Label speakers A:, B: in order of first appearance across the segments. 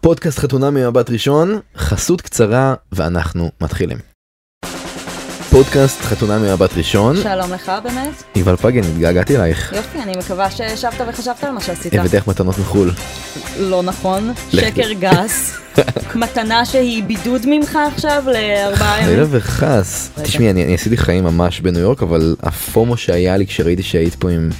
A: פודקאסט חתונה ממבט ראשון, חסות קצרה ואנחנו מתחילים. פודקאסט חתונה ממבט ראשון,
B: שלום לך באמת.
A: יובל פגן, התגעגעתי אלייך.
B: יופי, אני מקווה שישבת וחשבת על מה שעשית.
A: הבאתך מתנות מחו"ל.
B: לא נכון, שקר גס. מתנה שהיא בידוד ממך עכשיו לארבעה ימים.
A: חלילה לא וחס.
B: אה. רגע.
A: תשמעי, אני, אני עשיתי חיים ממש בניו יורק, אבל הפומו שהיה לי כשראיתי שהיית פה עם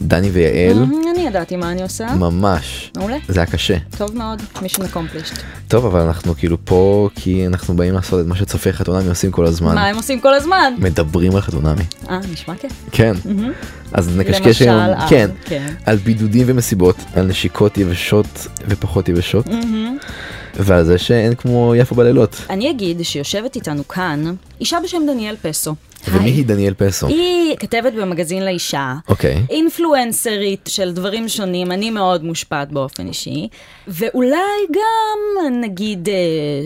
A: דני ויעל,
B: אמ, אני ידעתי מה אני עושה.
A: ממש.
B: מעולה.
A: זה היה קשה.
B: טוב מאוד, מישן אקומפלישט.
A: טוב, אבל אנחנו כאילו פה כי אנחנו באים לעשות את מה שצופי חתונמי עושים כל הזמן.
B: מה הם עושים כל הזמן?
A: מדברים על חתונמי.
B: אה, נשמע כיף.
A: כן.
B: מהמם.
C: Mm-hmm.
A: אז נקשקש
B: למשל,
A: היום,
B: אה,
A: כן,
B: כן.
A: על בידודים ומסיבות, על נשיקות יבשות ופחות יבשות,
B: מהמם.
C: Mm-hmm.
A: ועל זה שאין כמו יפו בלילות.
B: אני אגיד שיושבת איתנו כאן אישה בשם דניאל פסו.
A: ומי
B: היי.
A: היא דניאל פסו?
B: היא כתבת במגזין לאישה.
A: אוקיי.
B: אינפלואנסרית של דברים שונים, אני מאוד מושפעת באופן אישי, ואולי גם נגיד אה,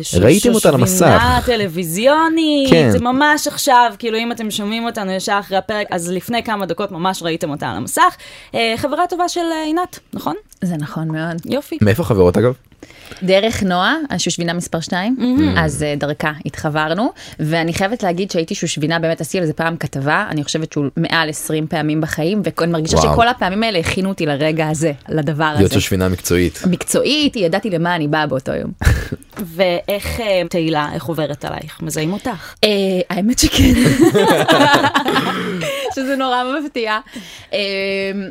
B: ש-
A: ראיתם אותה על המסך.
B: שושבינה טלוויזיונית,
A: כן.
B: זה ממש עכשיו, כאילו אם אתם שומעים אותנו ישר אחרי הפרק, אז לפני כמה דקות ממש ראיתם אותה על המסך. אה, חברה טובה של אה, עינת, נכון?
C: זה נכון מאוד.
B: יופי.
A: מאיפה חברות אגב?
C: דרך נועה, השושבינה מספר 2,
A: Mm-hmm.
C: אז אה, דרכה התחברנו, ואני חייבת להגיד שהייתי שושבינה, באמת עשיתי על זה פעם כתבה, אני חושבת שהוא מעל 20 פעמים בחיים, ואני מרגישה
A: וואו.
C: שכל הפעמים האלה הכינו אותי לרגע הזה, לדבר
A: להיות
C: הזה.
A: שושבינה מקצועית.
C: מקצועית, ידעתי למה אני באה באותו יום.
B: ואיך אה, תהילה, איך עוברת עלייך? מזהים אותך.
C: אה, האמת שכן. שזה נורא מפתיע. אה,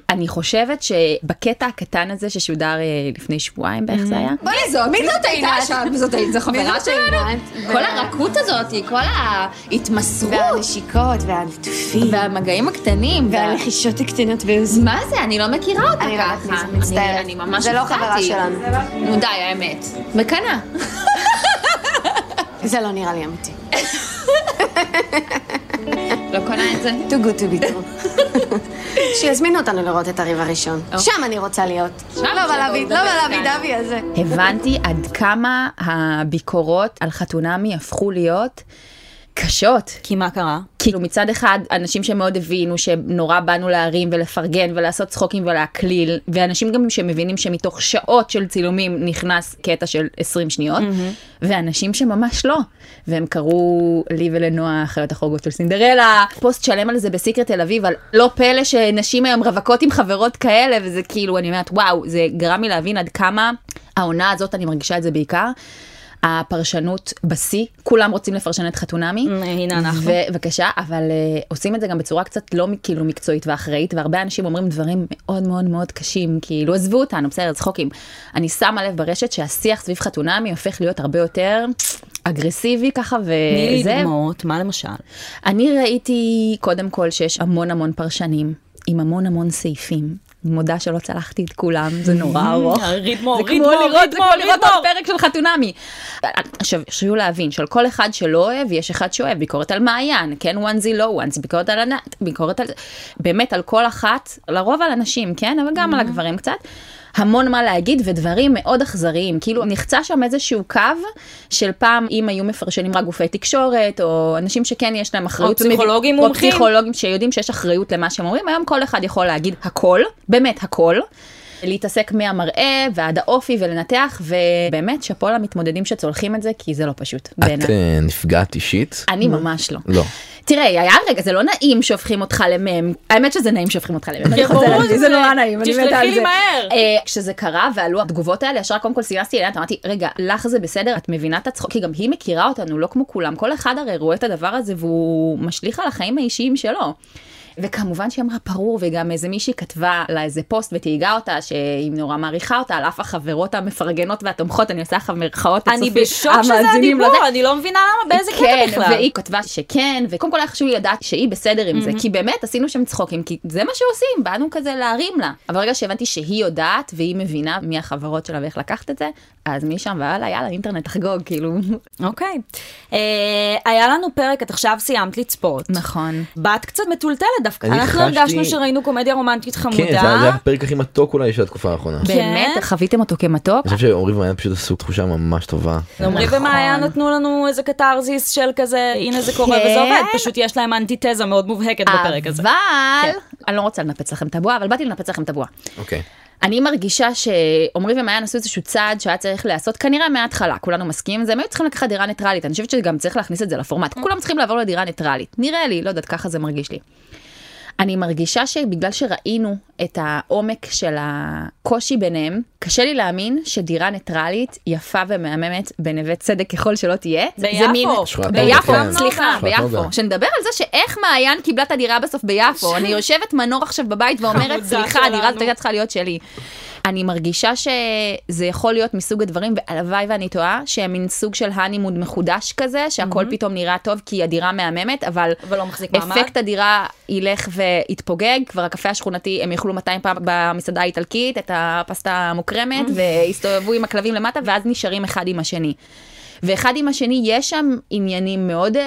C: אני חושבת שבקטע הקטן הזה ששודר אה, לפני שבועיים בערך
A: Mm-hmm.
C: זה היה,
D: בואי לזאת, מי זאת הייתה שם? זאת הייתה, זו חברה שלנו.
E: כל הרכות הזאת, כל ההתמסרות
D: והנשיקות, והליטופים,
E: והמגעים הקטנים. וה-
D: והלחישות הקטנות ביוזמה.
E: מה זה? אני לא מכירה אותה
D: אני לא
E: ככה.
D: מכירה, מצטערת.
E: אני- אני ממש
D: זה לא
E: הופתעתי.
D: חברה שלנו.
E: נו די, האמת. מקנאה.
D: זה לא נראה לי אמיתי.
E: לא קונה את זה.
D: too good to be true. שיזמינו אותנו לראות את הריב הראשון. שם אני רוצה להיות. לא בלהביא, לא בלהביא דבי הזה.
C: הבנתי עד כמה הביקורות על חתונמי הפכו להיות קשות.
B: כי מה קרה?
C: כאילו מצד אחד, אנשים שמאוד הבינו שנורא באנו להרים ולפרגן ולעשות צחוקים ולהקליל, ואנשים גם שמבינים שמתוך שעות של צילומים נכנס קטע של 20 שניות, ואנשים שממש לא, והם קראו לי ולנועה חיות החורגות של סינדרלה, פוסט שלם על זה בסיקרט תל אביב, על לא פלא שנשים היום רווקות עם חברות כאלה, וזה כאילו, אני אומרת, וואו, זה גרם לי להבין עד כמה העונה הזאת, אני מרגישה את זה בעיקר. הפרשנות בשיא, כולם רוצים לפרשן את חתונמי.
B: אה, הנה אנחנו.
C: ו- בבקשה, אבל uh, עושים את זה גם בצורה קצת לא מ- כאילו מקצועית ואחראית, והרבה אנשים אומרים דברים מאוד מאוד מאוד קשים, כאילו עזבו אותנו, בסדר, צחוקים. אני שמה לב ברשת שהשיח סביב חתונמי הופך להיות הרבה יותר אגרסיבי ככה
B: תני לי
C: וזה.
B: דוגמאות, מה למשל?
C: אני ראיתי קודם כל שיש המון המון פרשנים, עם המון המון סעיפים. אני מודה שלא צלחתי את כולם, זה נורא ארוך.
B: רידמור,
C: זה
B: רידמור,
C: כמו לראות,
B: רידמור,
C: זה כמו לראות
B: רידמור.
C: עוד פרק של חתונמי. עכשיו, שיהיו להבין, של כל אחד שלא אוהב, יש אחד שאוהב, ביקורת על מעיין, כן וואנזי לא וואנזי, ביקורת על ענת, ביקורת על... באמת על כל אחת, לרוב על הנשים, כן? אבל גם
B: Mm-hmm.
C: על הגברים קצת. המון מה להגיד ודברים מאוד אכזריים, כאילו נחצה שם איזשהו קו של פעם אם היו מפרשנים רק גופי תקשורת, או אנשים שכן יש להם אחריות.
B: פסיכולוגים
C: או
B: מומחים.
C: פסיכולוגים שיודעים שיש אחריות למה שהם אומרים, היום כל אחד יכול להגיד הכל, באמת הכל. להתעסק מהמראה ועד האופי ולנתח, ובאמת שאפו למתמודדים שצולחים את זה, כי זה לא פשוט
A: את
C: בעיניי.
A: אה, נפגעת אישית?
C: אני ממש לא.
A: לא.
C: תראה, היה רגע, זה לא נעים שהופכים אותך למ"ם. האמת שזה נעים שהופכים אותך למ"ם.
B: כן,
C: אני חוזרת
B: ברור
C: על זה,
B: שזה.
C: זה נורא נעים, אני מתה על זה.
B: תשלחי לי מהר.
C: אה, כשזה קרה ועלו התגובות האלה, ישר קודם כל סימסתי אליה, אמרתי, רגע, לך זה בסדר, את מבינה את הצחוק, כי גם היא מכירה אותנו, לא כמו כולם. כל אחד הרי רואה את הדבר הזה והוא משליך על החיים האישיים שלו. וכמובן שהיא אמרה ברור, וגם איזה מישהי כתבה לה איזה פוסט ותהיגה אותה, שהיא נורא מעריכה אותה, על אף החברות המפרגנות והתומכות, אני עושה לך מירכאות
B: אני
C: הצופים,
B: בשוק שזה
C: אה, המאזינים לזה.
B: הדיבור, אני לא מבינה למה, באיזה
C: כן,
B: קטע בכלל.
C: והיא כתבה שכן, וקודם כל היה חשוב לי לדעת שהיא בסדר עם זה, כי באמת עשינו שם צחוקים, כי זה מה שעושים, באנו כזה להרים לה. אבל ברגע שהבנתי שהיא יודעת והיא מבינה מי החברות שלה ואיך לקחת את זה, אז משם והלאה, יאללה, אינטרנט תחגוג, כאילו.
B: אוקיי. אה, היה לנו פרק, את עכשיו סיימת לצפות.
C: נכון.
B: באת קצת מטולטלת דווקא.
A: אני
B: אנחנו
A: חשתי-
B: הרגשנו שראינו קומדיה רומנטית
A: כן, זה היה זה
B: חמודה.
A: היה הפרק הכי מתוק אולי של התקופה האחרונה. אני
B: כן.
C: באמת, חוויתם אותו כמתוק?
A: חושב שעמרי ומעיין פשוט עשו תחושה ממש טובה.
B: עמרי
C: נכון.
B: ומעיין נתנו לנו איזה קתרזיס של כזה, הנה זה קורה
C: כן.
B: וזה עובד, פשוט יש להם אנטיתזה מאוד מובהקת בפרק הזה. כן.
C: אבל, אני לא רוצה לנפץ לכם את הבועה, אבל באתי לנפץ לכם את הבועה.
A: אוקיי.
C: אני מרגישה שעמרי ומעיין עשו איזשהו צעד שהיה צריך להיעשות כנראה מההתחלה, כולנו מסכימים עם זה, הם היו צריכים לקחת דירה ניטרלית, אני חושבת שגם צריך להכניס את זה לפורמט, כולם צריכים לעבור לדירה ניטרלית, נראה לי, לא יודעת, ככה זה מרגיש לי. אני מרגישה שבגלל שראינו את העומק של הקושי ביניהם, קשה לי להאמין שדירה ניטרלית יפה ומהממת בנווה צדק ככל שלא תהיה. זה
B: ביפו.
C: מין-
A: שכונת
C: ביפו,
A: נוגה, כן.
C: סליחה,
A: שכונת
C: ביפו.
A: נוגה.
C: שנדבר על זה שאיך מעיין קיבלה את הדירה בסוף ביפו. אני יושבת מנור עכשיו בבית ואומרת,
B: חמודה
C: סליחה, הדירה הזאת
B: שלנו."
C: הייתה צריכה להיות שלי. אני מרגישה שזה יכול להיות מסוג הדברים, והלוואי ואני טועה, שהם מין סוג של הנימוד מחודש כזה, שהכל פתאום נראה טוב כי הדירה מהממת, אבל...
B: אבל לא מחזיק מעמד.
C: אפקט הדירה ילך ויתפוגג, כבר הקפה השכונתי, הם יאכלו 200 פעם במסעדה האיטלקית, את הפסטה המוקרמת, והסתובבו עם הכלבים למטה, ואז נשארים אחד עם השני. ואחד עם השני, יש שם עניינים מאוד... אה,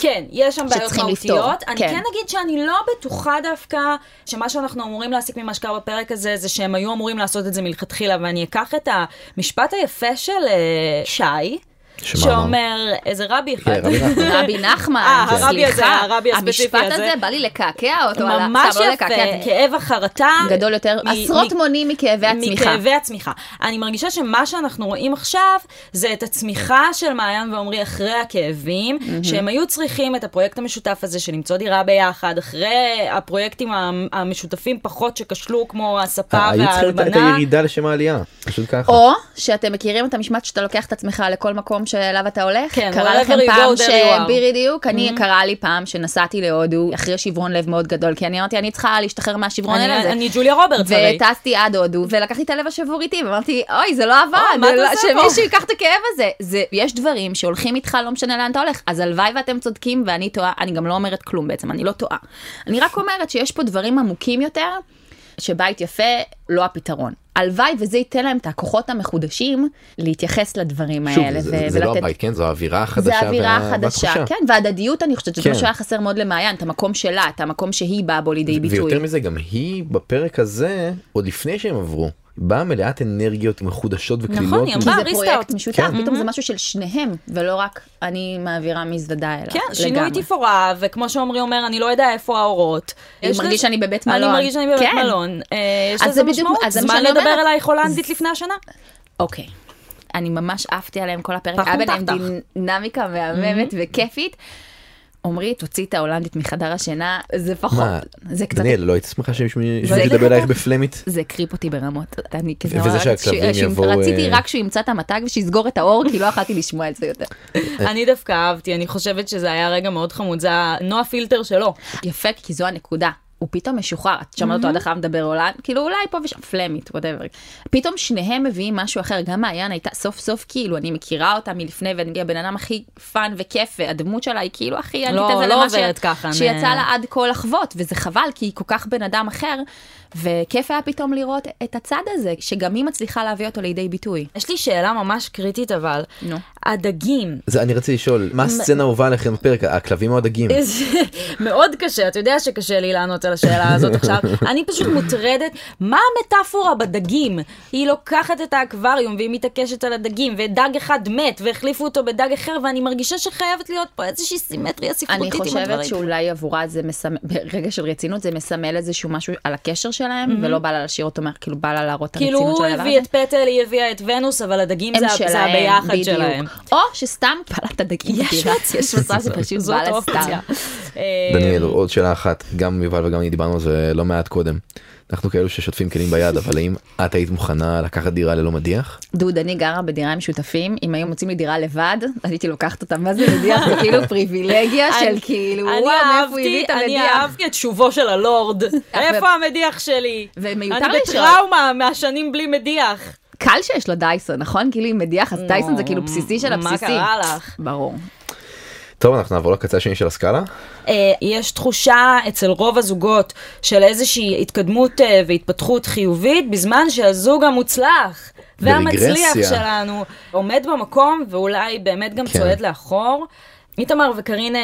B: כן, יש שם בעיות
C: שצריכים
B: מהותיות.
C: לפתור,
B: אני
C: כן.
B: כן אגיד שאני לא בטוחה דווקא שמה שאנחנו אמורים להסיק ממה שקרה בפרק הזה, זה שהם היו אמורים לעשות את זה מלכתחילה, ואני אקח את המשפט היפה של אה, שי,
A: שמה
B: שאומר, איזה רבי אחד.
A: כן, רבי נחמן.
C: רבי נחמן,
B: אה, הרבי הזה,
C: סליחה,
B: הרבי הספציפי
C: המשפט
B: הזה.
C: הזה בא לי לקעקע אותו, על ה-
B: ממש
C: סתם, לא
B: יפה,
C: לקעקע, זה-
B: כאב החרטה.
C: גדול יותר,
B: מ-
C: עשרות
B: מ-
C: מונים מכאבי הצמיחה.
B: מכאבי הצמיחה. אני מרגישה שמה שאנחנו רואים עכשיו, זה את הצמיחה של מעיין ועמרי אחרי הכאבים, שהם היו צריכים את הפרויקט המשותף הזה של למצוא דירה ביחד, אחרי הפרויקטים המ- המשותפים פחות שכשלו, כמו הספה
C: אה,
A: היו צריכים אה, את- את
B: וההלבנה.
A: הירידה לשם העלייה, פשוט ככה.
C: או שאתם מכירים את המשמעת שאתה לוקח את עצמך לכל מקום שאליו אתה הולך?
B: כן,
C: קרה
B: wherever
C: לכם
B: you
C: פעם
B: go, there you are.
C: בדיוק,
B: Mm-hmm.
C: אני קרה לי פעם שנסעתי להודו אחרי שברון לב מאוד גדול, כי אני אמרתי, אני צריכה להשתחרר מהשברון
B: אני-
C: לב הזה.
B: אני ג'וליה רוברטס הרי.
C: וטסתי עד הודו, ולקחתי את הלב השבור איתי, ואמרתי, אוי, זה לא עבד,
B: אוי, מה אתה
C: לא-
B: עושה פה?"
C: שמישהו ייקח את הכאב הזה. זה- יש דברים שהולכים איתך, לא משנה לאן אתה הולך, אז הלוואי ואתם צודקים, ואני טועה, אני גם לא אומרת כלום בעצם, אני לא טועה. אני רק אומרת שיש פה דברים עמוקים יותר, שבית יפה לא הפתרון. הלוואי וזה ייתן להם את הכוחות המחודשים להתייחס לדברים
A: שוב,
C: האלה.
A: זה-
C: ו-
A: זה לא
C: אוקיי, ולתת-
A: הבית, כן? זו האווירה החדשה.
C: זה האווירה
A: וה-
C: החדשה,
A: והתחושה.
C: כן, והדדיות אני חושבת שזה מה
A: כן.
C: שהיה חסר מאוד למעיין, את המקום שלה, את המקום שהיא באה בו לידי ביטוי.
A: ויותר מזה, גם היא בפרק הזה, עוד לפני שהם עברו, באה מלאת אנרגיות מחודשות וקלילות.
B: נכון, היא אמרה,
A: מזה.
C: כי זה
B: ריסטארט.
C: פרויקט משותף,
A: כן.
C: פתאום זה
B: Mm-hmm.
C: משהו של שניהם, ולא רק אני מעבירה מזוודה אליו.
B: כן, שינוי
C: לגמרי.
B: תפאורה, וכמו שעמרי אומר, אני לא יודע איפה האורות.
C: אני
B: יש
C: מרגיש
B: לזה-
C: שאני בבית מלון.
B: אני מרגיש שאני בבית
C: כן.
B: מלון. אה, יש
C: אז
B: לזה
C: זה בדיוק-
B: משמעות.
C: אז זה מה
B: זמן
C: שאני
B: לדבר
C: אומרת.
B: אליי הולנדית לפני השנה?
C: אוקיי. אני ממש עפתי עליהם כל הפרק,
B: פחום
C: היה ביניהם
B: תחתך.
C: דינמיקה מהממת
B: Mm-hmm.
C: וכיפית. עמרי, תוציא את ההולנדית מחדר השינה, זה פחות,
A: מה,
C: זה קצת,
A: דניאל, לא היית שמחה שמישהו
C: זה
A: שמישהו ידבר
C: לא-
A: אלייך בפלמית?
C: זה הקריפ אותי ברמות. אני כזה,
A: וזה
C: ממש-
A: שהכלבים
C: שהוא-
A: יבואו,
C: רציתי
A: אה,
C: רק שהוא ימצא את המתג ושיסגור את האור, כי לא יכלתי לשמוע את זה יותר.
B: אני דווקא אהבתי, אני חושבת שזה היה רגע מאוד חמוד, זה הנועה פילטר שלו.
C: יפה, כי זו הנקודה. הוא פתאום משוחרר, את שמעת
B: Mm-hmm.
C: אותו עד אחריו מדבר הולנד, כאילו אולי פה ושם, פלמית, וואטאבר. פתאום שניהם מביאים משהו אחר, גם מעיין הייתה סוף סוף כאילו, אני מכירה אותה מלפני, ואני הבן אדם הכי פאן וכיף, והדמות שלה היא כאילו הכי ענית
B: לא,
C: הזה
B: לא
C: למה
B: עוברת
C: ש-
B: ככה,
C: שיצא
B: אני-
C: לה עד כה לחוות, וזה חבל, כי היא כל כך בן אדם אחר, וכיף היה פתאום לראות את הצד הזה, שגם היא מצליחה להביא אותו לידי ביטוי.
B: יש לי שאלה ממש קריטית אבל,
C: נו.
B: הדגים.
A: זה אני רציתי לשאול, מה הסצנה האהובה עליכם בפרק? הכלבים או הדגים?
B: זה מאוד קשה, אתה יודע שקשה לי לענות על השאלה הזאת עכשיו. אני פשוט מוטרדת, מה המטאפורה בדגים? היא לוקחת את האקווריום והיא מתעקשת על הדגים, ודג אחד מת, והחליפו אותו בדג אחר, ואני מרגישה שחייבת להיות פה איזושהי סימטריה
C: אני
B: ספרותית עם הדברים.
C: חושבת לא שאולי עבורה זה מסמל, ברגע של רצינות זה מסמל איזשהו משהו על הקשר שלהם, ולא בא לה להשאיר אותו, מה- כאילו בא לה להראות את
B: כאילו
C: הרצינות
B: הוא
C: של הדבר
B: הביא
C: הזה.
B: את פטל, היא הביאה את ונוס, אבל הדגים
C: הם
B: זה ה-
C: שלהם,
B: זה הביחד
C: בדיוק.
B: שלהם.
C: או שסתם פלט הדגים.
B: יש
C: בדירה.
B: מצב,
C: יש מצב שפשוט
B: זאת
C: בא לה סתם.
B: אופציה. אה,
A: דניאל, עוד שאלה אחת, גם יובל וגם אני דיברנו על זה לא מעט קודם. אנחנו כאלו ששוטפים כלים ביד, אבל האם את היית מוכנה לקחת דירה ללא מדיח?
C: דוד, אני גרה בדירה עם שותפים, אם היו מוצאים לי דירה לבד, הייתי לוקחת אותה, מה זה מדיח? זה כאילו פריבילגיה של
B: אני-
C: כאילו,
B: אני
C: וואו, מאיפה הוא
B: אהבתי-
C: הביא את
B: אני
C: המדיח?
B: אהבתי את שובו של הלורד. איפה המדיח שלי?
C: ומיותר
B: אני
C: לשאול.
B: בטראומה מהשנים בלי מדיח.
C: קל שיש לו דייסון, נכון? כאילו עם מדיח, אז דייסון זה כאילו
B: נו,
C: בסיסי של
B: Mm, מה
C: הבסיסי.
B: קרה לך?
C: ברור.
A: טוב, אנחנו נעבור לקצה השני של הסקאלה.
B: אה, יש תחושה אצל רוב הזוגות של איזושהי התקדמות אה, והתפתחות חיובית, בזמן שהזוג המוצלח והמצליח
A: ברגרסיה.
B: שלנו עומד במקום ואולי באמת גם
A: כן.
B: צועד לאחור. איתמר וקארין אה,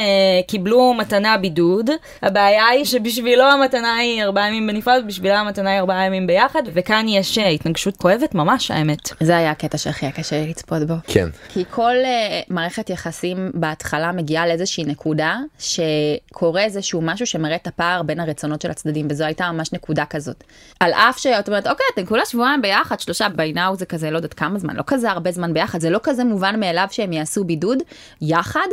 B: קיבלו מתנה בידוד, הבעיה היא שבשבילו המתנה היא ארבעה ימים בנפרד, בשבילה המתנה היא ארבעה ימים ביחד, וכאן יש אה, התנגשות כואבת ממש האמת.
C: זה היה הקטע שהכי היה קשה לי לצפות בו.
A: כן.
C: כי כל uh, מערכת יחסים בהתחלה מגיעה לאיזושהי נקודה שקורה איזשהו משהו שמראה את הפער בין הרצונות של הצדדים, וזו הייתה ממש נקודה כזאת. על אף שאת אומרת, אוקיי, אתם כולה שבועיים ביחד, שלושה by now זה כזה, לא יודעת כמה זמן, לא כזה הרבה זמן ביחד, זה לא כזה מובן מאליו שהם יעשו בידוד יחד,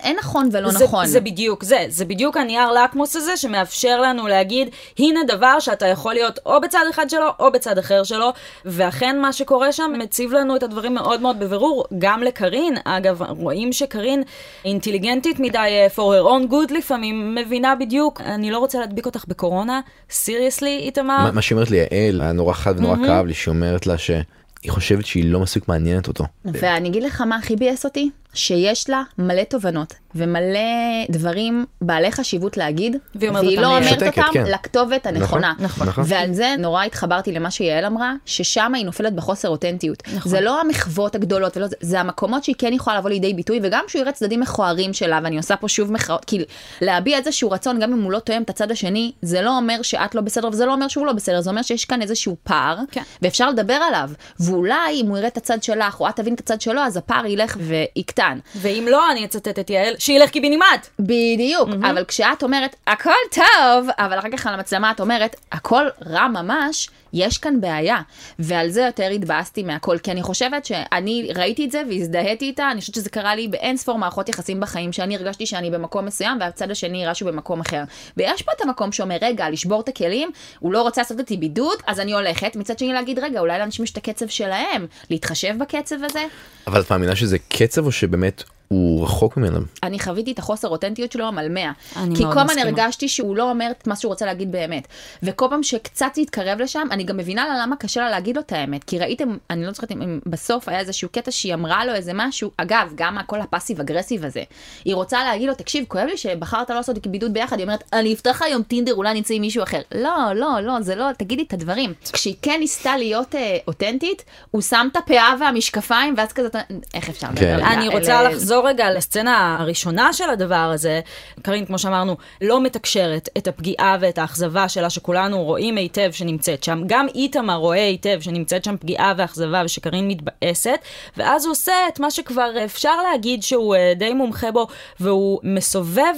C: אין נכון ולא
B: זה,
C: נכון.
B: זה בדיוק זה, זה בדיוק הנייר לקמוס הזה שמאפשר לנו להגיד, הנה דבר שאתה יכול להיות או בצד אחד שלו או בצד אחר שלו, ואכן מה שקורה שם מציב לנו את הדברים מאוד מאוד בבירור, גם לקארין, אגב, רואים שקארין אינטליגנטית מדי, אה, for her own good לפעמים, מבינה בדיוק, אני לא רוצה להדביק אותך בקורונה, סיריוסלי, איתמר?
A: מה, מה שאומרת לי יעל היה נורא חד ונורא כאב לי שהיא אומרת לה שהיא חושבת שהיא לא מספיק מעניינת אותו.
C: ואני אגיד לך מה הכי ביאס אותי, שיש לה מלא תובנות ומלא דברים בעלי חשיבות להגיד,
B: והיא אומרת אותם
C: לא
B: לי.
C: אומרת
A: שותקת,
C: אותם
A: כן.
C: לכתובת הנכונה.
A: נכון, נכון.
C: ועל זה נורא התחברתי למה שיעל אמרה, ששם היא נופלת בחוסר אותנטיות. זה לא המחוות הגדולות, ולא, זה- זה המקומות שהיא כן יכולה לבוא לידי ביטוי, וגם שהוא יראה צדדים מכוערים שלה, ואני עושה פה שוב מחאות, כי להביע איזשהו רצון, גם אם הוא לא תואם את הצד השני, זה לא אומר שאת לא בסדר, וזה לא אומר שהוא לא בסדר, זה אומר שיש כאן איזשהו פער,
B: כן.
C: ואפשר לדבר עליו. ואולי אם הוא יראה את הצד שלך, או את תבין את הצד שלו, אז הפער ילך ויקטן.
B: ואם לא, אני אצטט את יעל, שילך קיבינימט.
C: בדיוק, mm-hmm. אבל כשאת אומרת, הכל טוב, אבל אחר כך על המצלמה את אומרת, הכל רע ממש, יש כאן בעיה. ועל זה יותר התבאסתי מהכל, כי אני חושבת שאני ראיתי את זה והזדהיתי איתה, אני חושבת שזה קרה לי באין ספור מערכות יחסים בחיים, שאני הרגשתי שאני במקום מסוים, והצד השני הראה שהוא במקום אחר. ויש פה את המקום שאומר, רגע, לשבור את הכלים, הוא לא רוצה לעשות איתי בידוד, אז אני הולכת. מצד שני להגיד, רגע, אולי לאנשים יש את הקצב שלהם, להתחשב בקצב הזה.
A: אבל את מאמינה שזה קצב או שבאמת הוא רחוק ממנו?
C: אני חוויתי את החוסר אותנטיות שלו על 100.
B: אני
C: כי
B: מאוד
C: כל הזמן
B: מסכימה.
C: הרגשתי שהוא לא אומר את מה שהוא רוצה להגיד באמת. וכל פעם שקצת התקרב לשם, אני גם מבינה לה למה קשה לה להגיד לו את האמת. כי ראיתם, אני לא זוכרת אם- אם בסוף היה איזשהו קטע שהיא אמרה לו איזה משהו, אגב, גם הכל הפאסיב אגרסיב הזה. היא רוצה להגיד לו, תקשיב, כואב לי שבחרת לא לעשות בידוד ביחד, היא אומרת, אני אפתח היום טינדר, אולי אני אצא עם מישהו אחר. לא, לא, לא, זה לא, תגידי את הדברים. כשהיא כן ניסתה להיות אה, אותנטית, הוא שם את הפאה והמשקפיים, ואז כזה, אתה- איך אפשר לדבר
A: כן.
C: על-
B: אני רוצה
C: על-
B: לחזור רגע לסצנה הראשונה של הדבר הזה. קארין, כמו שאמרנו, לא מתקשרת את הפגיעה ואת האכזבה שלה, שכולנו רואים היטב שנמצאת שם. גם איתמר רואה היטב שנמצאת שם פגיעה ואכזבה ושקארין מתבאסת, ואז הוא עושה את מה שכבר אפשר להגיד שהוא אה, די מומחה בו, והוא מסובב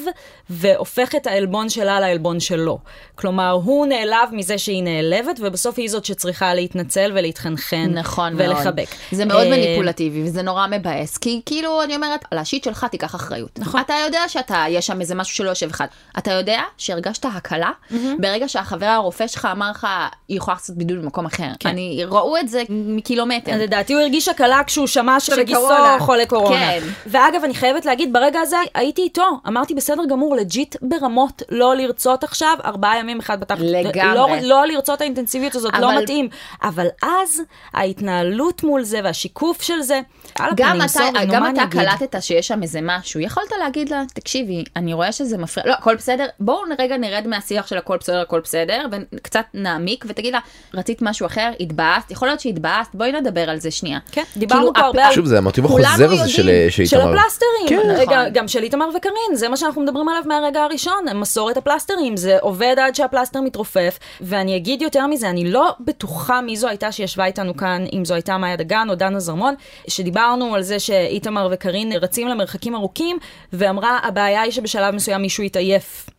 B: והופך את העלבון שלה לעלבון שלו. כלומר, הוא נעלב מזה שהיא נעלבת, ובסוף היא זאת שצריכה להתנצל ולהתחנחן.
C: נכון מאוד.
B: כן, ולחבק.
C: זה מאוד
B: אה,
C: מניפולטיבי וזה נורא מבאס, כי כאילו אני אומרת, על השיט שלך תיקח אחריות. נכון. אתה יודע שאתה, יש שם איזה משהו שלא יושב אחד. אתה יודע שהרגשת הקלה ברגע שהחבר הרופא שלך אמר לך, היא יכולה לעשות בידוד במקום אחר. אני, ראו את זה מקילומטר.
B: כן. אז לדעתי הוא הרגיש הקלה כשהוא שמע שלגיסו
C: כן. קורונה.
B: חולה קורונה.
C: כן.
B: ואגב, אני חייבת להגיד, ברגע הזה הייתי איתו. אמרתי, בסדר גמור, לג'יט ברמות לא לרצות עכשיו, ארבעה ימים אחד בתחת.
C: לגמרי.
B: לא, לא לרצות האינטנסיביות הזאת, לא
C: אבל-
B: מתאים. אבל אז, ההתנהלות מול זה והשיקוף של זה, על
C: גם
B: הפנים,
C: אתה,
B: סורי, נו,
C: גם
B: מה אני
C: אתה
B: אגיד?
C: קלטת שיש שם איזה משהו, יכולת להגיד לה, תקשיבי, אני רואה שזה מפריע, לא, הכל בסדר, בואו רגע נרד מהשיח של הכל בסדר, הכל בסדר, וקצת נעמיק, ותגיד לה, רצית משהו אחר, התבאסת, יכול להיות שהתבאסת, בואי נדבר על זה שנייה. כאילו,
B: כן, דיברנו פה
C: הפ-
B: הרבה על-
A: שוב זה המוטיב
C: כולנו
A: החוזר הזה
C: יודעים
A: של אה,
B: של
A: שאיתמר.
B: הפלסטרים,
A: כן.
B: רגע,
C: נכון.
B: גם של איתמר וקארין, זה מה שאנחנו מדברים עליו מהרגע הראשון, מסורת הפלסטרים, זה עובד עד שהפלסטר מתרופף, ואני אגיד יותר מזה, אני לא בטוחה מי זו הייתה שישבה איתנו כאן, אם זו הייתה מאיה דגן או דנה זרמון, שדיברנו על זה שאיתמר וקארין רצים למרחקים ארוכים, ואמרה, הבעיה היא שבשלב מסוים מישהו התעייף.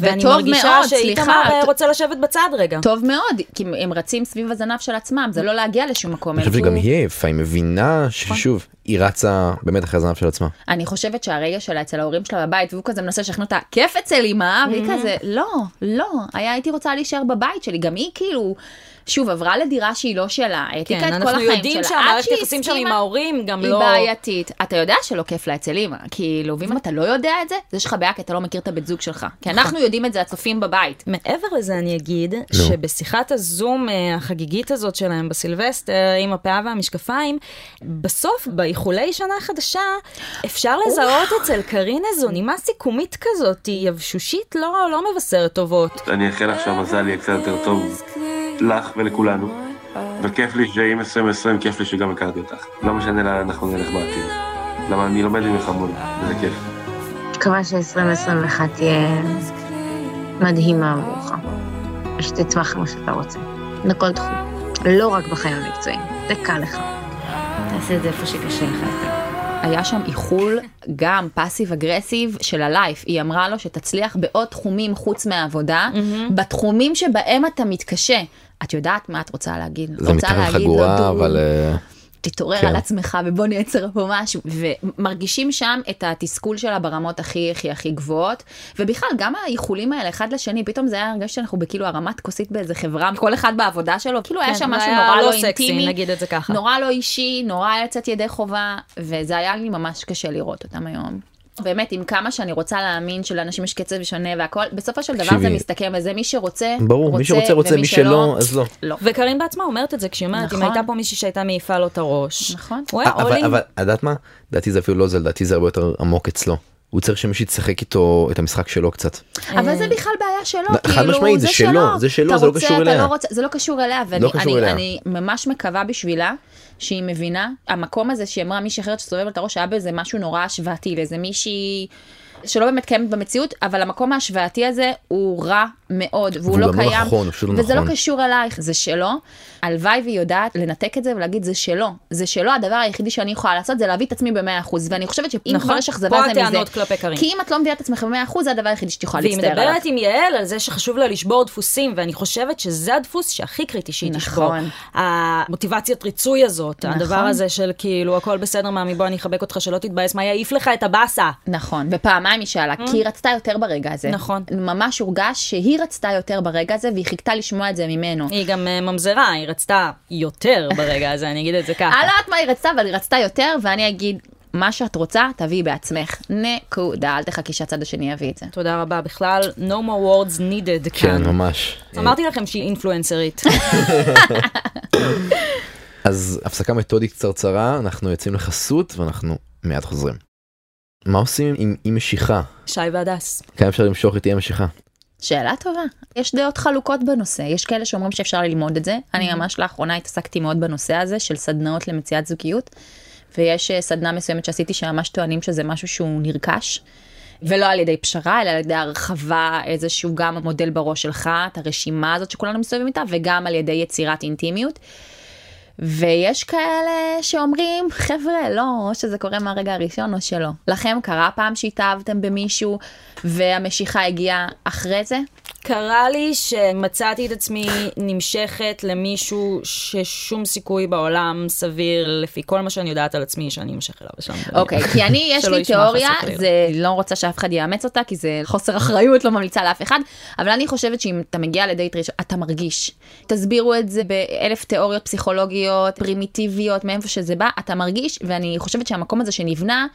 B: ואני
C: וטוב
B: מרגישה
C: מאוד,
B: שאיתמר אה,
C: סליחה, את-
B: רוצה לשבת בצד רגע.
C: טוב מאוד, כי הם- הם רצים סביב הזנב של עצמם, זה לא להגיע לשום מקום.
A: אני חושב
C: אלא
A: שגם
C: הוא-
A: היא עייפה, היא מבינה ששוב, היא רצה באמת אחרי הזנב של עצמה.
C: אני חושבת שהרגע שלה אצל ההורים שלה בבית, והוא כזה מנסה לשכנע אותה, כיף אצל אמא,
B: Mm-hmm.
C: והיא כזה, לא, לא, היה, הייתי רוצה להישאר בבית שלי, גם היא כאילו, שוב, עברה לדירה שהיא לא שלה, העתיקה
B: כן,
C: את כל
B: אנחנו
C: החיים שלה,
B: יודעים
C: עד
B: שהמערכת
C: שהיא
B: יחסים שם עם
C: הסכימה,
B: ההורים גם
C: היא
B: לא...
C: בעייתית. אתה יודע שלא כיף לה אצל אמא, כאילו, ואם אתה לא יודע את זה, אז יש לך בעיה כי אתה לא מכיר את הבית זוג שלך. כי
B: נכון.
C: אנחנו יודעים את זה, הצופים בבית.
B: מעבר לזה אני אגיד,
A: נו.
B: שבשיחת הזום אה, החגיגית הזאת שלהם בסילבסטר, עם הפאה והמשקפיים, בסוף, באיחולי שנה חדשה, אפשר לזהות אצל קארין איזו נימה סיכומית כזאת, היא יבשושית, לא, לא מבשרת טובות.
F: אני אאחל לך שהמזל יהיה קצת יותר טוב לך ולכולנו. וכיף לי שעם 2020, כיף לי שגם הכרתי אותך. לא משנה לאן אנחנו נלך בעתיד. למה אני לומד ממך המון, וזה כיף.
G: מקווה ש-2021 תהיה מדהימה עבורך, שתצמח כמו שאתה רוצה, בכל תחום, לא רק בחיים המקצועיים, זה קל לך. תעשה את זה איפה שקשה לך יותר.
C: היה שם איחול גם פאסיב אגרסיב של הלייף. היא אמרה לו שתצליח בעוד תחומים חוץ מהעבודה, בתחומים שבהם אתה מתקשה. את יודעת מה את רוצה להגיד?
A: זה
C: רוצה
A: מתחת
C: להגיד לו,
A: חגורה,
C: דודו,
A: אבל... אה,
C: תתעורר
A: כן.
C: על עצמך ובוא נייצר פה משהו. ומרגישים שם את התסכול שלה ברמות הכי הכי הכי גבוהות. ובכלל, גם האיחולים האלה אחד לשני, פתאום זה היה הרגש שאנחנו בכאילו הרמת כוסית באיזה חברה, כל אחד בעבודה שלו, כאילו היה
B: כן,
C: שם
B: זה
C: משהו
B: היה
C: נורא
B: לא
C: לא
B: סקסי,
C: אינטימי.
B: נגיד את זה ככה.
C: נורא לא אישי, נורא יצאת ידי חובה, וזה היה לי ממש קשה לראות אותם היום. באמת, עם כמה שאני רוצה להאמין שלאנשים יש קצב שונה והכל, בסופו של דבר זה
A: תקשיבי.
C: מסתכם וזה מי שרוצה,
A: ברור, מי שרוצה רוצה,
C: ומי
A: מי שלא, אז לא.
C: לא.
B: וקארין בעצמה אומרת את זה כשהיא אומרת, אם
C: נכון.
B: הייתה פה מישהי שהייתה מעיפה לו את הראש.
C: נכון.
B: הוא היה
A: אה, אבל,
B: אולינג.
A: אבל, את יודעת מה? לדעתי זה אפילו לא זה, לדעתי זה הרבה יותר עמוק אצלו. הוא צריך שמישהו ישחק איתו את המשחק שלו קצת.
C: אבל זה בכלל בעיה שלו,
A: חד
C: כאילו,
A: משמעית, אה, זה שלו, זה שלו,
C: אתה
A: זה לא
C: רוצה,
A: קשור
C: אתה
A: אליה.
C: לא רוצה, זה לא קשור אליה, ואני
A: לא קשור
C: אני,
A: אליה.
C: אני ממש מקווה בשבילה שהיא מבינה, המקום הזה שהיא אמרה מישהי אחרת שסובבת את הראש היה באיזה משהו נורא השוואתי, לאיזה מישהי שלא באמת קיימת במציאות, אבל המקום ההשוואתי הזה הוא רע מאוד, והוא
A: והוא
C: לא
A: גם לא
C: קיים,
A: נכון, הוא פשוט לא
C: וזה לא
A: נכון.
C: קשור אלייך, זה שלו. הלוואי והיא יודעת לנתק את זה ולהגיד זה שלו, זה שלו, הדבר היחידי שאני יכולה לעשות זה להביא את עצמי ב-100%, ואני חושבת שאם
B: נכון,
C: כבר יש אכזבה
B: פה
C: זה מזה.
B: הטענות כלפי קארין.
C: כי אם את לא מביאה את עצמך ב-100%, זה הדבר היחידי שאת יכולה
B: והיא
C: להצטער עליו.
B: מדברת עם יעל על זה שחשוב לה לשבור דפוסים, ואני חושבת שזה הדפוס שהכי קריטי שהיא
C: נכון.
B: תשבור. המוטיבציית ריצוי הזאת,
C: נכון.
B: הדבר הזה של כאילו, הכל בסדר, מאמי, בוא אני אחבק אותך, שלא תתבאס, מה יעיף לך את הבאסה?
C: נכון, ופעמיים היא שאלה, כי היא רצתה יותר ברגע הזה.
B: אה. נכון.
C: ממש הורגש שהיא רצתה יותר ברגע הזה, והיא חיכתה לשמוע את זה ממנו.
B: היא גם אה, ממזרה, היא רצתה יותר ברגע הזה, אני אגיד את זה ככה.
C: אני לא יודעת מה היא רצתה, אבל היא רצתה יותר, ואני אגיד, מה שאת רוצה, תביאי בעצמך. נקודה, אל תחכי שהצד השני יביא את זה.
B: תודה רבה בכלל, no more words needed כאן.
A: כן, ממש.
B: אמרתי לכם שהיא אינפלואנסרית.
A: אז הפסקה מתודית קצרצרה, אנחנו יוצאים לחסות ואנחנו מיד חוזרים. מה עושים עם אי משיכה?
B: שי והדס.
A: כמה אפשר למשוך את אי המשיכה?
C: שאלה טובה. יש דעות חלוקות בנושא, יש כאלה שאומרים שאפשר ללמוד את זה. אני ממש לאחרונה התעסקתי מאוד בנושא הזה של סדנאות למציאת זוגיות, ויש אה, סדנה מסוימת שעשיתי שממש טוענים שזה משהו שהוא נרכש. ולא על ידי פשרה, אלא על ידי הרחבה, איזשהו גם מודל בראש שלך, את הרשימה הזאת שכולנו מסתובבים איתה, וגם על ידי יצירת אינטימיות. ויש כאלה שאומרים, חבר'ה, לא, או שזה קורה מהרגע הראשון או שלא. לכם קרה פעם שהתאהבתם במישהו והמשיכה הגיעה אחרי זה?
B: קרה לי שמצאתי את עצמי נמשכת למישהו ששום סיכוי בעולם סביר, לפי כל מה שאני יודעת על עצמי, שאני אמשך אליו לשם.
C: אוקיי, כי אני, יש
B: שלא
C: לי
B: ישמע חס
C: תיאוריה,
B: וחלילה.
C: זה לא רוצה שאף אחד יאמץ אותה, כי זה חוסר אחריות, לא ממליצה לאף אחד, אבל אני חושבת שאם אתה מגיע לדייט ראשון, אתה מרגיש. תסבירו את זה באלף תיאוריות פסיכולוגיות, פרימיטיביות, מאיפה שזה בא, אתה מרגיש, ואני חושבת שהמקום הזה שנבנה,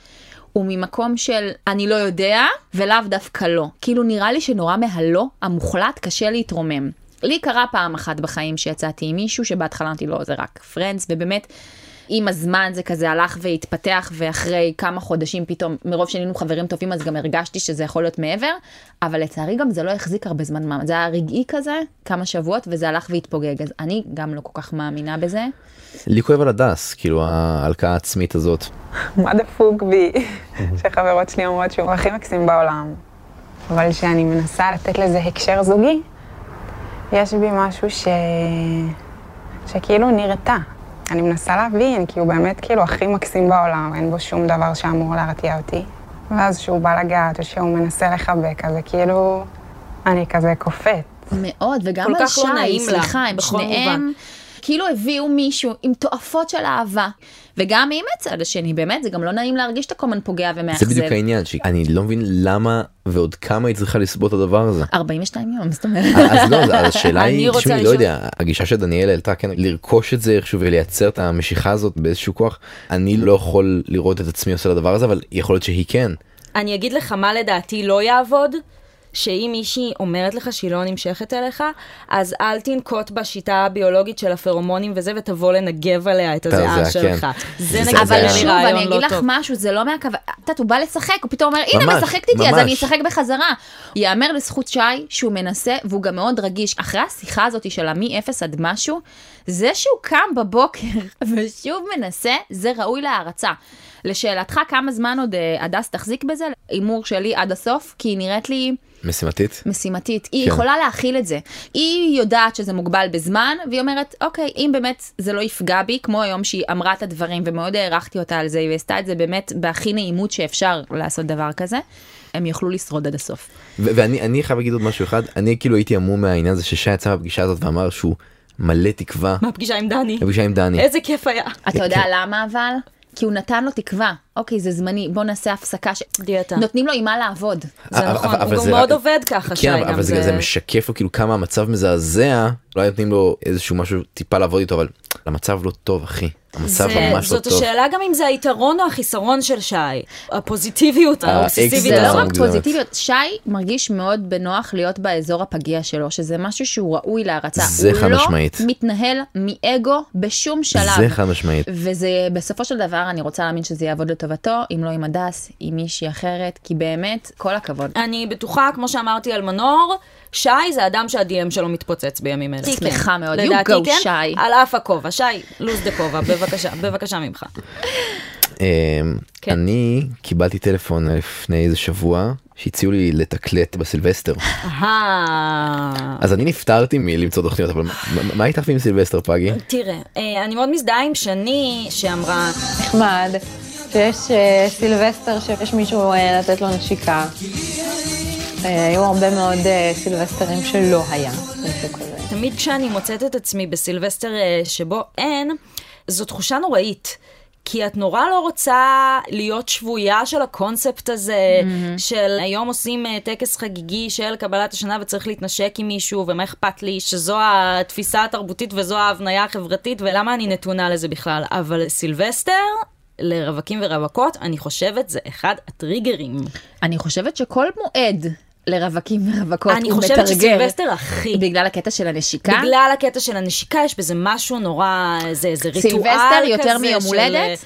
C: הוא ממקום של אני לא יודע, ולאו דווקא לא. כאילו נראה לי שנורא מהלא המוחלט קשה להתרומם. לי קרה פעם אחת בחיים שיצאתי עם מישהו שבהתחלה אמרתי לו זה רק פרנדס ובאמת עם הזמן זה כזה הלך והתפתח, ואחרי כמה חודשים פתאום, מרוב שנהיינו חברים טובים, אז גם הרגשתי שזה יכול להיות מעבר, אבל לצערי גם זה לא החזיק הרבה זמן מעמד. זה היה רגעי כזה, כמה שבועות, וזה הלך והתפוגג, אז אני גם לא כל כך מאמינה בזה.
A: לי כואב על הדס, כאילו ההלקאה העצמית הזאת.
H: מה דפוק בי, שחברות שלי אומרות שהוא הכי מקסים בעולם. אבל כשאני מנסה לתת לזה הקשר זוגי, יש בי משהו ש... שכאילו נרתע. אני מנסה להבין, כי הוא באמת כאילו הכי מקסים בעולם, אין בו שום דבר שאמור להרתיע אותי. ואז כשהוא בא לגעת, או שהוא מנסה לחבק, אז זה כאילו... אני כזה קופאת.
C: מאוד,
B: כל
C: וגם על
B: כך לא
C: שי,
B: נעים לה,
C: סליחה, הם
B: בכל מובן.
C: שניהם, כאילו הביאו מישהו עם תועפות של אהבה. וגם היא מהצד השני, באמת, זה גם לא נעים להרגיש שאתה כל הזמן פוגע
A: זה
C: ומאכזב.
A: בדיוק העניין, שאני לא מבין למה ועוד כמה היא צריכה לסבול את הדבר הזה.
C: 42 יום, זאת אומרת.
A: אז לא, אז השאלה
B: אני
A: היא,
B: רוצה
A: תשמעי, לא
B: לשאול-
A: יודע, הגישה שדניאל העלתה, כן, לרכוש את זה איכשהו ולייצר את המשיכה הזאת באיזשהו כוח, אני לא יכול לראות את עצמי עושה לדבר הזה, אבל יכול להיות שהיא כן.
B: אני אגיד לך מה לדעתי לא יעבוד, שאם מישהי אומרת לך שהיא לא נמשכת אליך, אז אל תנקוט בשיטה הביולוגית של הפרומונים וזה, ותבוא לנגב עליה את
A: הזיעה,
B: הזיעה
A: כן.
B: שלך.
A: זה-
B: זה נגיד
A: זה
C: אבל
A: היה
B: נראה לי
C: שוב, אני
B: רעיון
C: אגיד
B: לא
C: לך
B: טוב.
C: משהו, זה לא מהכוונה, את יודעת, הוא בא לשחק, הוא פתאום אומר, הנה,
A: ממש,
C: משחקת איתי, אז
A: ממש.
C: אני אשחק בחזרה. ייאמר לזכות שי שהוא מנסה, והוא גם מאוד רגיש. אחרי השיחה הזאת של המ-0 עד משהו, זה שהוא קם בבוקר ושוב מנסה, זה ראוי להערצה. לשאלתך, כמה זמן עוד אה, הדס תחזיק בזה? הימור שלי עד הסוף, כי היא נראית לי...
A: משימתית?
C: משימתית, היא
A: כן.
C: כן. יכולה להכיל את זה. היא יודעת שזה מוגבל בזמן, והיא אומרת, אוקיי, אם באמת זה לא יפגע בי, כמו היום שהיא אמרה את הדברים, ומאוד הערכתי אותה על זה, היא עשתה את זה באמת בהכי נעימות שאפשר לעשות דבר כזה, הם יוכלו לשרוד עד הסוף.
A: ו- ואני אני חייב להגיד עוד משהו אחד, אני כאילו הייתי המום מהעניין הזה ששי יצא בפגישה הזאת ואמר שהוא מלא תקווה
B: מהפגישה עם דני.
A: בפגישה עם דני.
B: איזה כיף היה.
C: אתה יודע למה אבל? כי הוא נתן לו תקווה. אוקיי, זה זמני, בוא נעשה הפסקה. ש...
B: דיאטה.
C: נותנים לו עם מה לעבוד.
B: זה
A: אבל-
B: נכון,
A: אבל- אבל
B: הוא
A: זה-
B: גם מאוד עובד ככה, שי,
A: כן, אבל-
B: גם
A: אבל זה
B: זה-
A: זה משקף לו כאילו כמה המצב מזעזע, לא היה נותנים לו איזשהו משהו טיפה לעבוד איתו, אבל המצב לא טוב אחי, המצב
B: זה-
A: ממש לא
B: אה, זאת
A: טוב.
B: השאלה גם אם זה היתרון או החיסרון של שי. הפוזיטיביות האובססיבית
C: זה
A: האקסטרה.
C: לא
A: אה,
B: הזאת.
C: רק
A: מוגזמת.
C: פוזיטיביות, שי מרגיש מאוד בנוח להיות באזור הפגיע שלו, שזה משהו שהוא ראוי להערצה.
A: זה חד משמעית.
C: הוא לא מתנהל מאגו בשום שלב.
A: זה חד משמעית.
C: וזה בסופו של דבר אני רוצה להאמין שזה יעבוד לטובתו אם לא עם הדס עם מישהי אחרת כי באמת כל הכבוד.
B: אני בטוחה, כמו שאמרתי על מנור, שי זה אדם שה-DM שלו מתפוצץ בימים אלה.
C: שמחה
B: כן.
C: מאוד. You
B: לדעתי
C: go,
B: כן,
C: שי.
B: על אף הכובע. שי, לוז דה כובע, בבקשה, בבקשה ממך.
A: אמ,
B: כן.
A: אני קיבלתי טלפון לפני איזה שבוע שהציעו לי לתקלט בסילבסטר.
B: אהה.
A: אז אני נפטרתי מלמצוא תוכניות, אבל מה- מה- מה התערבי עם סילבסטר פגי?
B: תראה, אה, אני מאוד מזדהה עם שני, שאמרה,
I: נחמד שיש אה, סילבסטר שיש מישהו אה, לתת לו נשיקה. אה, היו הרבה מאוד אה, סילבסטרים שלא היה מישהו כזה.
B: תמיד כשאני מוצאת את עצמי בסילבסטר אה, שבו אין, זו תחושה נוראית. כי את נורא לא רוצה להיות שבויה של הקונספט הזה, mm-hmm. של היום עושים אה, טקס חגיגי של קבלת השנה וצריך להתנשק עם מישהו, ומה אכפת לי שזו התפיסה התרבותית וזו ההבניה החברתית, ולמה אני נתונה לזה בכלל. אבל סילבסטר, לרווקים ורווקות, אני חושבת זה אחד הטריגרים.
C: אני חושבת שכל מועד לרווקים ורווקות
B: אני
C: הוא
B: חושבת
C: מתרגר
B: שסילבסטר הכי...
C: בגלל הקטע של הנשיקה.
B: בגלל הקטע של הנשיקה, יש בזה משהו נורא, זה איזה ריטואל כזה.
C: סילבסטר יותר מיום
B: של-
C: הולדת?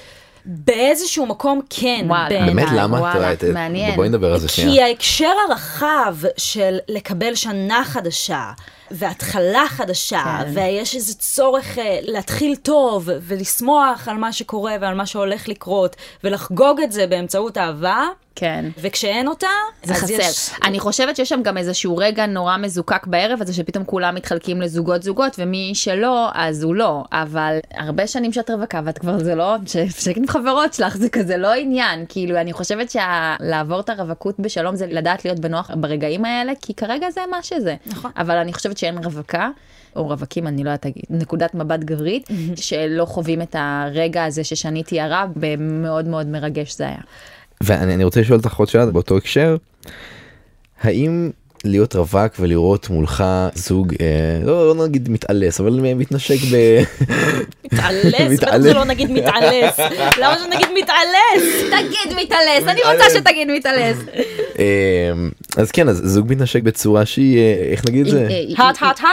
B: באיזשהו מקום כן,
C: וואלה.
B: בעיניי.
A: באמת לא למה? תראה,
C: וואלה,
A: ת-
C: מעניין.
A: בואי נדבר על זה
B: כי
A: שנייה.
B: ההקשר הרחב של לקבל שנה חדשה, והתחלה חדשה,
C: כן.
B: ויש איזה צורך אה, להתחיל טוב, ולשמוח על מה שקורה ועל מה שהולך לקרות, ולחגוג את זה באמצעות אהבה,
C: כן.
B: וכשאין אותה,
C: זה
B: אז
C: חסר.
B: יש...
C: אני חושבת שיש שם גם איזשהו רגע נורא מזוקק בערב הזה שפתאום כולם מתחלקים לזוגות זוגות ומי שלא אז הוא לא אבל הרבה שנים שאת רווקה ואת כבר זה לא שפסיק עם חברות שלך זה כזה לא עניין כאילו אני חושבת שלעבור את הרווקות בשלום זה לדעת להיות בנוח ברגעים האלה כי כרגע זה מה שזה
B: נכון.
C: אבל אני חושבת שאין רווקה. או רווקים, אני לא יודעת, להגיד, נקודת מבט גברית, שלא חווים את הרגע הזה ששני תיארה, ומאוד מאוד מרגש זה היה.
A: ואני אני רוצה לשאול אותך עוד שאלה באותו הקשר, האם להיות רווק ולראות מולך זוג, אה, לא לא נגיד מתעלס, אבל מתנשק ב...
B: מתעלס, בטח
A: מתעלס.
B: זה לא נגיד מתעלס. למה שנגיד מתעלס?
C: תגיד מתעלס, אני רוצה שתגיד מתעלס.
A: אה, אז כן, אז זוג מתנשק בצורה שהיא, אה, איך נגיד את זה?
B: האט האט האט.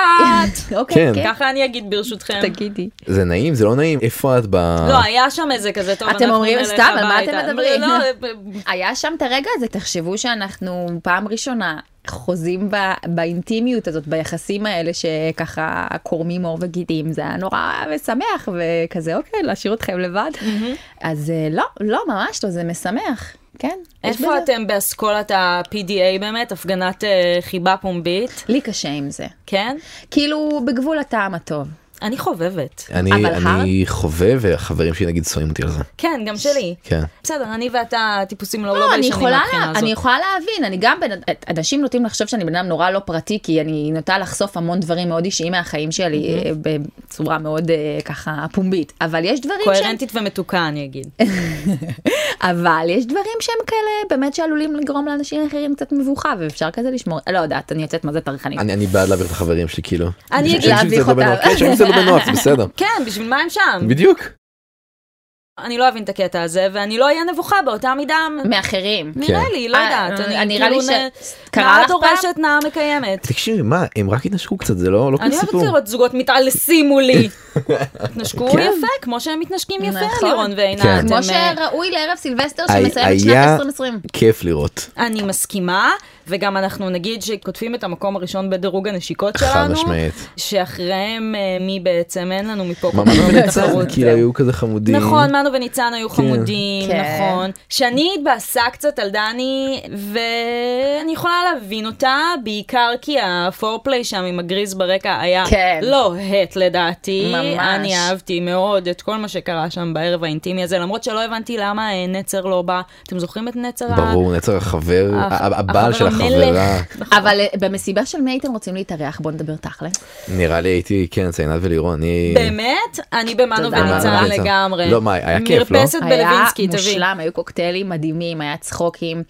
A: כן.
C: אוקיי, כן.
B: ככה אני אגיד ברשותכם.
C: תגידי.
A: זה נעים, זה לא נעים, איפה את ב...
B: לא, היה שם איזה כזה טוב.
C: אתם
B: אנחנו
C: אומרים
B: נלך
C: סתם, על מה
B: הביתה."
C: אתם מדברים?
B: לא, לא,
C: היה שם את הרגע הזה, תחשבו שאנחנו פעם ראשונה חוזים ב, באינטימיות הזאת, ביחסים האלה שככה קורמים עור וגידים, זה היה נורא משמח וכזה, אוקיי, להשאיר אתכם לבד.
B: Mm-hmm.
C: אז אה, לא, לא, ממש לא, זה משמח, כן. יש
B: איפה
C: בזה-
B: אתם באסכולת ה-PDA באמת? הפגנת אה, חיבה פומבית,
C: לי קשה עם זה.
B: כן?
C: כאילו, בגבול הטעם הטוב.
B: אני חובבת.
A: אני,
C: אבל
A: אני חווה והחברים שלי נגיד שונאים אותי על זה.
B: כן, גם שלי.
A: כן.
B: בסדר, אני ואתה טיפוסים לא לא
C: לא, אני
B: ביישנים
C: יכולה,
B: מהבחינה
C: אני
B: הזאת.
C: יכולה להבין, אני גם בן... אנשים נוטים לחשוב שאני בן אדם נורא לא פרטי, כי אני נוטה לחשוף המון דברים מאוד אישיים מהחיים שלי, אה, בצורה מאוד אה, ככה פומבית. אבל יש דברים שהם...
B: קוהרנטית ומתוקה, אני אגיד.
C: אה, אבל יש דברים שהם כאלה, באמת שעלולים לגרום לאנשים אחרים קצת מבוכה, ואפשר כזה לשמור... לא יודעת, אני יוצאת מה זה טרחנית.
A: אני, אני בעד להעביר את החברים שלי כאילו.
B: אני
A: שהם
B: אגיד
A: קצת לא
C: להביך אותם.
A: בנוח. כן, שהם קצת לא בנוח, זה בסדר.
B: כן, בשביל מה הם שם?
A: בדיוק.
B: אני לא אבין את הקטע הזה, ואני לא אהיה נבוכה באותה מידה...
C: מאחרים.
B: נראה
C: כן.
B: לי, לא
C: אה,
B: יודעת.
C: אה,
B: אני
C: נראה לי
B: כאילו...
C: ש-
B: נ-
C: קרה
B: נערה
C: לך פעם?
B: דורשת, נער מקיימת.
A: תקשיבי, מה, הם רק התנשקו קצת, זה לא לא
B: אני
A: כזה
B: אוהבת
A: סיפור.
B: לראות זוגות מתעלסים מולי. התנשקו
A: כן.
B: יפה, כמו שהם מתנשקים יפה,
C: נכון.
B: לירון
A: כן.
B: ועינת.
C: כמו
B: הם, אה,
C: שראוי לערב סילבסטר
A: הי-
C: שמסיים את שנת
A: היה
C: 2020.
A: כיף לראות.
B: אני מסכימה, וגם אנחנו נגיד שכותבים את המקום הראשון בדירוג הנשיקות
A: חד
B: שלנו.
A: משמעית.
B: שאחריהם אה, מי בעצם, אין לנו מפה.
A: ממש
B: כל כך
A: וניצן,
B: תחרות.
A: כאילו היו כזה חמודים.
B: נכון, מנו וניצן היו חמודים,
C: כן.
B: נכון. שאני התבאסה קצת על דני, ואני יכולה להבין אותה, בעיקר כי הפורפליי שם עם הגריז ברקע היה
C: כן.
B: לא הט לדעתי.
C: ממש.
B: אני אהבתי מאוד את כל מה שקרה שם בערב האינטימי הזה, למרות שלא הבנתי למה אה, נצר לא בא. אתם זוכרים את נצר? ה-
A: ברור, נצר החבר,
B: הח-
A: ה- הבעל של
B: החבר
A: החברה. כן.
B: המלך.
C: אבל אה, במסיבה של מי הייתם רוצים להתארח? בואו נדבר תכל'ס.
A: נראה לי הייתי, כן, זה עינת ולירון. אני-
B: באמת? אני במנו
C: תודה רבה.
B: וניצן
A: וניצן.
B: לגמרי.
A: לא, מה, היה כיף, לא?
B: מרפסת בלווינסקי,
C: היה
B: תביא.
C: מושלם, היו קוקטיילים מדהימים, היה צחוקים.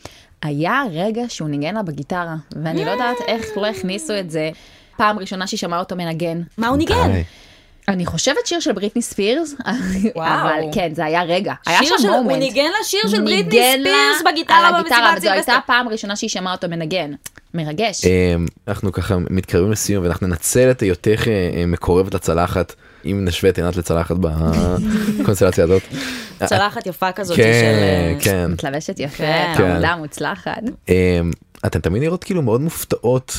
C: היה רגע שהוא ניגן לה בגיטרה, ואני לא יודעת איך לא הכניסו את זה. פעם ראשונה שהיא שמעה אותו מנגן.
B: מה הוא ניגן?
A: די.
C: אני חושבת שיר של בריטני ספירס,
B: וואו.
C: אבל כן, זה היה רגע. היה
B: שיר
C: שם
B: של,
C: מומנט.
B: הוא ניגן לה שיר של בריטני
C: ניגן לה
B: ספירס
C: על
B: בגיטרה
C: הגיטרה,
B: במסיבת
C: וזו הייתה
B: סילבסטר.
C: הפעם הראשונה שהיא שמעה אותו מנגן. מרגש.
A: אמ, אנחנו ככה מתקרבים לסיום ואנחנו ננצל את היותך אה, אה, מקורבת לצלחת אם נשווה את עינת לצלחת בקונסטלציה הזאת.
B: צלחת יפה כזאת של...
A: אה.
B: אה,
A: כן כן
C: מתלבשת יפה,
B: כן.
C: עמודה מוצלחת.
A: אמ, אתן תמיד נראות כאילו מאוד מופתעות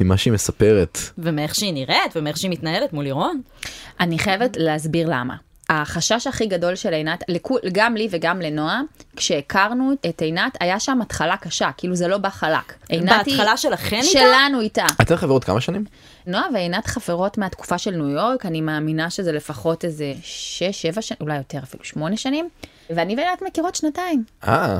A: ממה שהיא מספרת.
B: ומאיך שהיא נראית, ומאיך שהיא מתנהלת מול לירון.
C: אני חייבת להסביר למה. החשש הכי גדול של עינת, לכו- גם לי וגם לנועה, כשהכרנו את עינת, היה שם התחלה קשה, כאילו זה לא בא חלק. עינת היא-
B: בהתחלה שלכן איתה?
C: שלנו איתה.
A: אתן חברות כמה שנים?
C: נועה ועינת חברות מהתקופה של ניו יורק, אני מאמינה שזה לפחות איזה 6-7 שנים, אולי יותר אפילו 8 שנים, ואני ועינת מכירות שנתיים.
A: אה,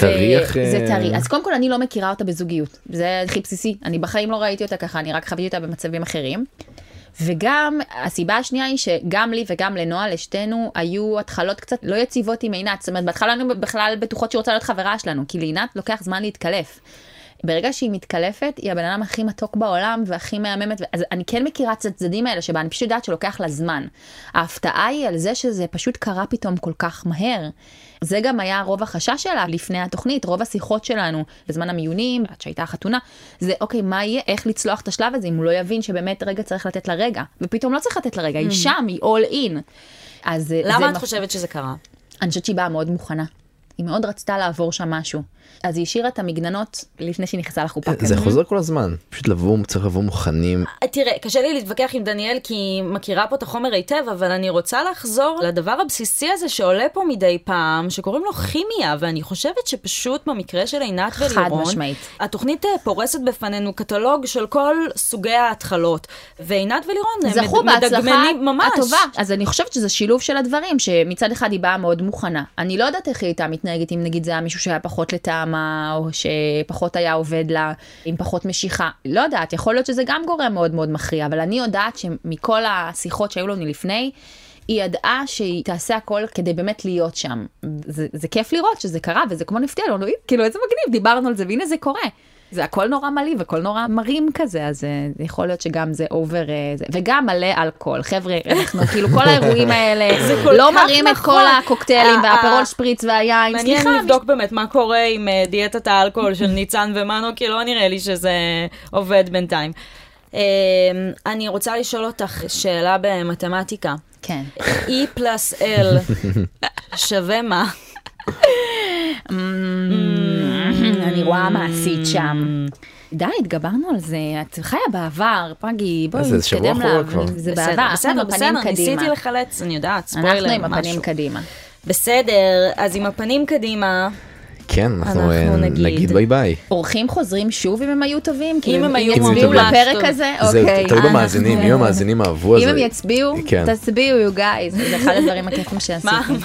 A: תריח. אה,
C: זה טרי. אז קודם כל, אני לא מכירה אותה בזוגיות. זה הכי בסיסי. אני בחיים לא ראיתי אותה ככה, אני רק חוויתי אותה במצבים אחרים. וגם, הסיבה השנייה היא שגם לי וגם לנועה, לשתינו, היו התחלות קצת לא יציבות עם עינת. זאת אומרת, בהתחלה היינו בכלל בטוחות שהיא רוצה להיות חברה שלנו, כי לעינת לוקח זמן להתקלף. ברגע שהיא מתקלפת, היא הבן אדם הכי מתוק בעולם והכי מהממת, אז אני כן מכירה את הצדדים האלה שבה, אני פשוט יודעת שלוקח לה זמן. ההפתעה היא על זה שזה פשוט קרה פתאום כל כך מהר. זה גם היה רוב החשש שלה לפני התוכנית, רוב השיחות שלנו בזמן המיונים, עד שהייתה החתונה, זה אוקיי, מה יהיה, איך לצלוח את השלב הזה אם הוא לא יבין שבאמת רגע צריך לתת לה רגע, ופתאום לא צריך לתת לה רגע, היא שם, היא all in. אז אה, זה
B: Mm. למה את
C: מפ-
B: חושבת שזה קרה?
C: אני חושבת שהיא באה מאוד מוכנה. היא מאוד רצתה לעבור שם משהו. אז היא השאירה את המגננות לפני שהיא נכנסה לחופה.
A: אה,
C: כן.
B: אוקיי.
A: זה חוזר כל הזמן. פשוט לבוא, צריך לבוא מוכנים.
B: תראה, קשה לי להתווכח עם דניאל כי היא מכירה פה את החומר היטב, אבל אני רוצה לחזור לדבר הבסיסי הזה שעולה פה מדי פעם, שקוראים לו כימיה, ואני חושבת שפשוט במקרה של עינת
C: חד
B: ולירון,
C: משמעית.
B: התוכנית אה, פורסת בפנינו קטלוג של כל סוגי ההתחלות, ועינת ולירון אה,
C: זכו
B: מד-
C: בהצלחה
B: מדגמנים ממש.
C: הטובה. אז אני חושבת שזה שילוב של הדברים, שמצד אחד היא באה מאוד מוכנה. אני לא יודעת איך היא הייתה מתנהגת, אם נגיד זה היה מישהו שהיה פחות לטעמה, או שפחות היה עובד לה, עם פחות משיכה. לא יודעת, יכול להיות שזה גם גורם מאוד מאוד מכריע, אבל אני יודעת שמכל השיחות שהיו לנו לפני, היא ידעה שהיא תעשה הכל כדי באמת להיות שם. זה, זה כיף לראות שזה קרה, וזה כמו נפתיע, לא, אלוהים, כאילו איזה מגניב, דיברנו על זה, והנה זה קורה. זה הכל נורא מלהיב, הכל נורא מרים כזה, אז אה, יכול להיות שגם זה אובר, זה, וגם מלא אלכוהול. חבר'ה, אנחנו כאילו כל האירועים האלה,
B: זה כל
C: לא
B: כך
C: מרים את
B: נכון.
C: כל הקוקטיילים
B: אה, אה.
C: והאפרול שפריץ והיין,
B: מעניין
C: סליחה,
B: לבדוק באמת מה קורה עם אה, דיאטת האלכוהול של ניצן ומנו, כי לא נראה לי שזה עובד בינתיים. אה, אני רוצה לשאול אותך שאלה במתמטיקה.
C: כן.
B: E פלוס L שווה מה?
C: אני רואה
B: Mm.
C: מעשית שם. די, התגברנו על זה, את חיה בעבר, פגי, בואי
A: אז זה שבוע
C: נתקדם
A: אחורה כבר.
C: לאבנים. זה בעבר, אנחנו עם
B: בסדר,
C: הפנים
B: בסדר,
C: קדימה.
B: ניסיתי לחלץ, אני יודעת, ספוילר, משהו.
C: אנחנו עם הפנים קדימה.
B: בסדר, אז עם הפנים קדימה,
A: כן, אנחנו
B: אנחנו
A: אה,
B: נגיד.
A: נגיד ביי ביי.
C: אורחים חוזרים שוב אם הם היו טובים? כאילו,
B: הם היו
C: יצביעו
A: ממש
C: לפרק
B: טוב.
C: הזה?
A: זה
C: אוקיי.
A: תלוי
C: אנחנו-
A: במאזינים, אם המאזינים אהבו, אז
C: אם הם יצביעו,
A: כן.
C: תצביעו, you guys. זה אחד הדברים הכיפים
B: מה?
C: שעשיתם.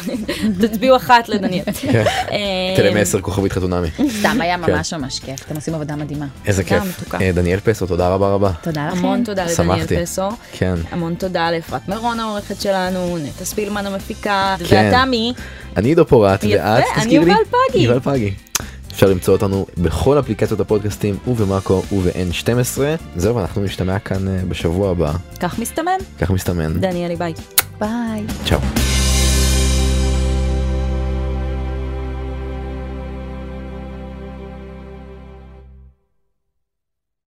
B: תצביעו אחת לדניאל.
C: כן.
B: אה,
A: תלם 10 כוכבית חתונמי.
C: סתם, היה ממש ממש כיף. אתם עושים עבודה מדהימה.
A: איזה
B: תודה,
A: כיף.
B: מתוקה.
A: אה, דניאל פסו, תודה רבה רבה.
C: תודה לכם.
B: המון תודה לדניאל
A: שמחתי.
B: פסו.
A: כן.
B: המון תודה לאפרת מירון העורכת שלנו, נטע ספילמן המפיקה,
A: כן.
B: ואתה מי?
A: אני עידו פורט,
B: יפה,
A: ואת
B: אני
A: תזכירי לי.
B: יובל פגי.
A: יובל פגי. אפשר למצוא אותנו בכל אפליקציות הפודקאסטים ובמאקו וב-N12. זהו, אנחנו נשתמע כאן אה, בשבוע הבא,
B: כך מסתמן,
A: כך מסתמן.
B: דניאלי ביי.
C: ביי.
A: צ'או.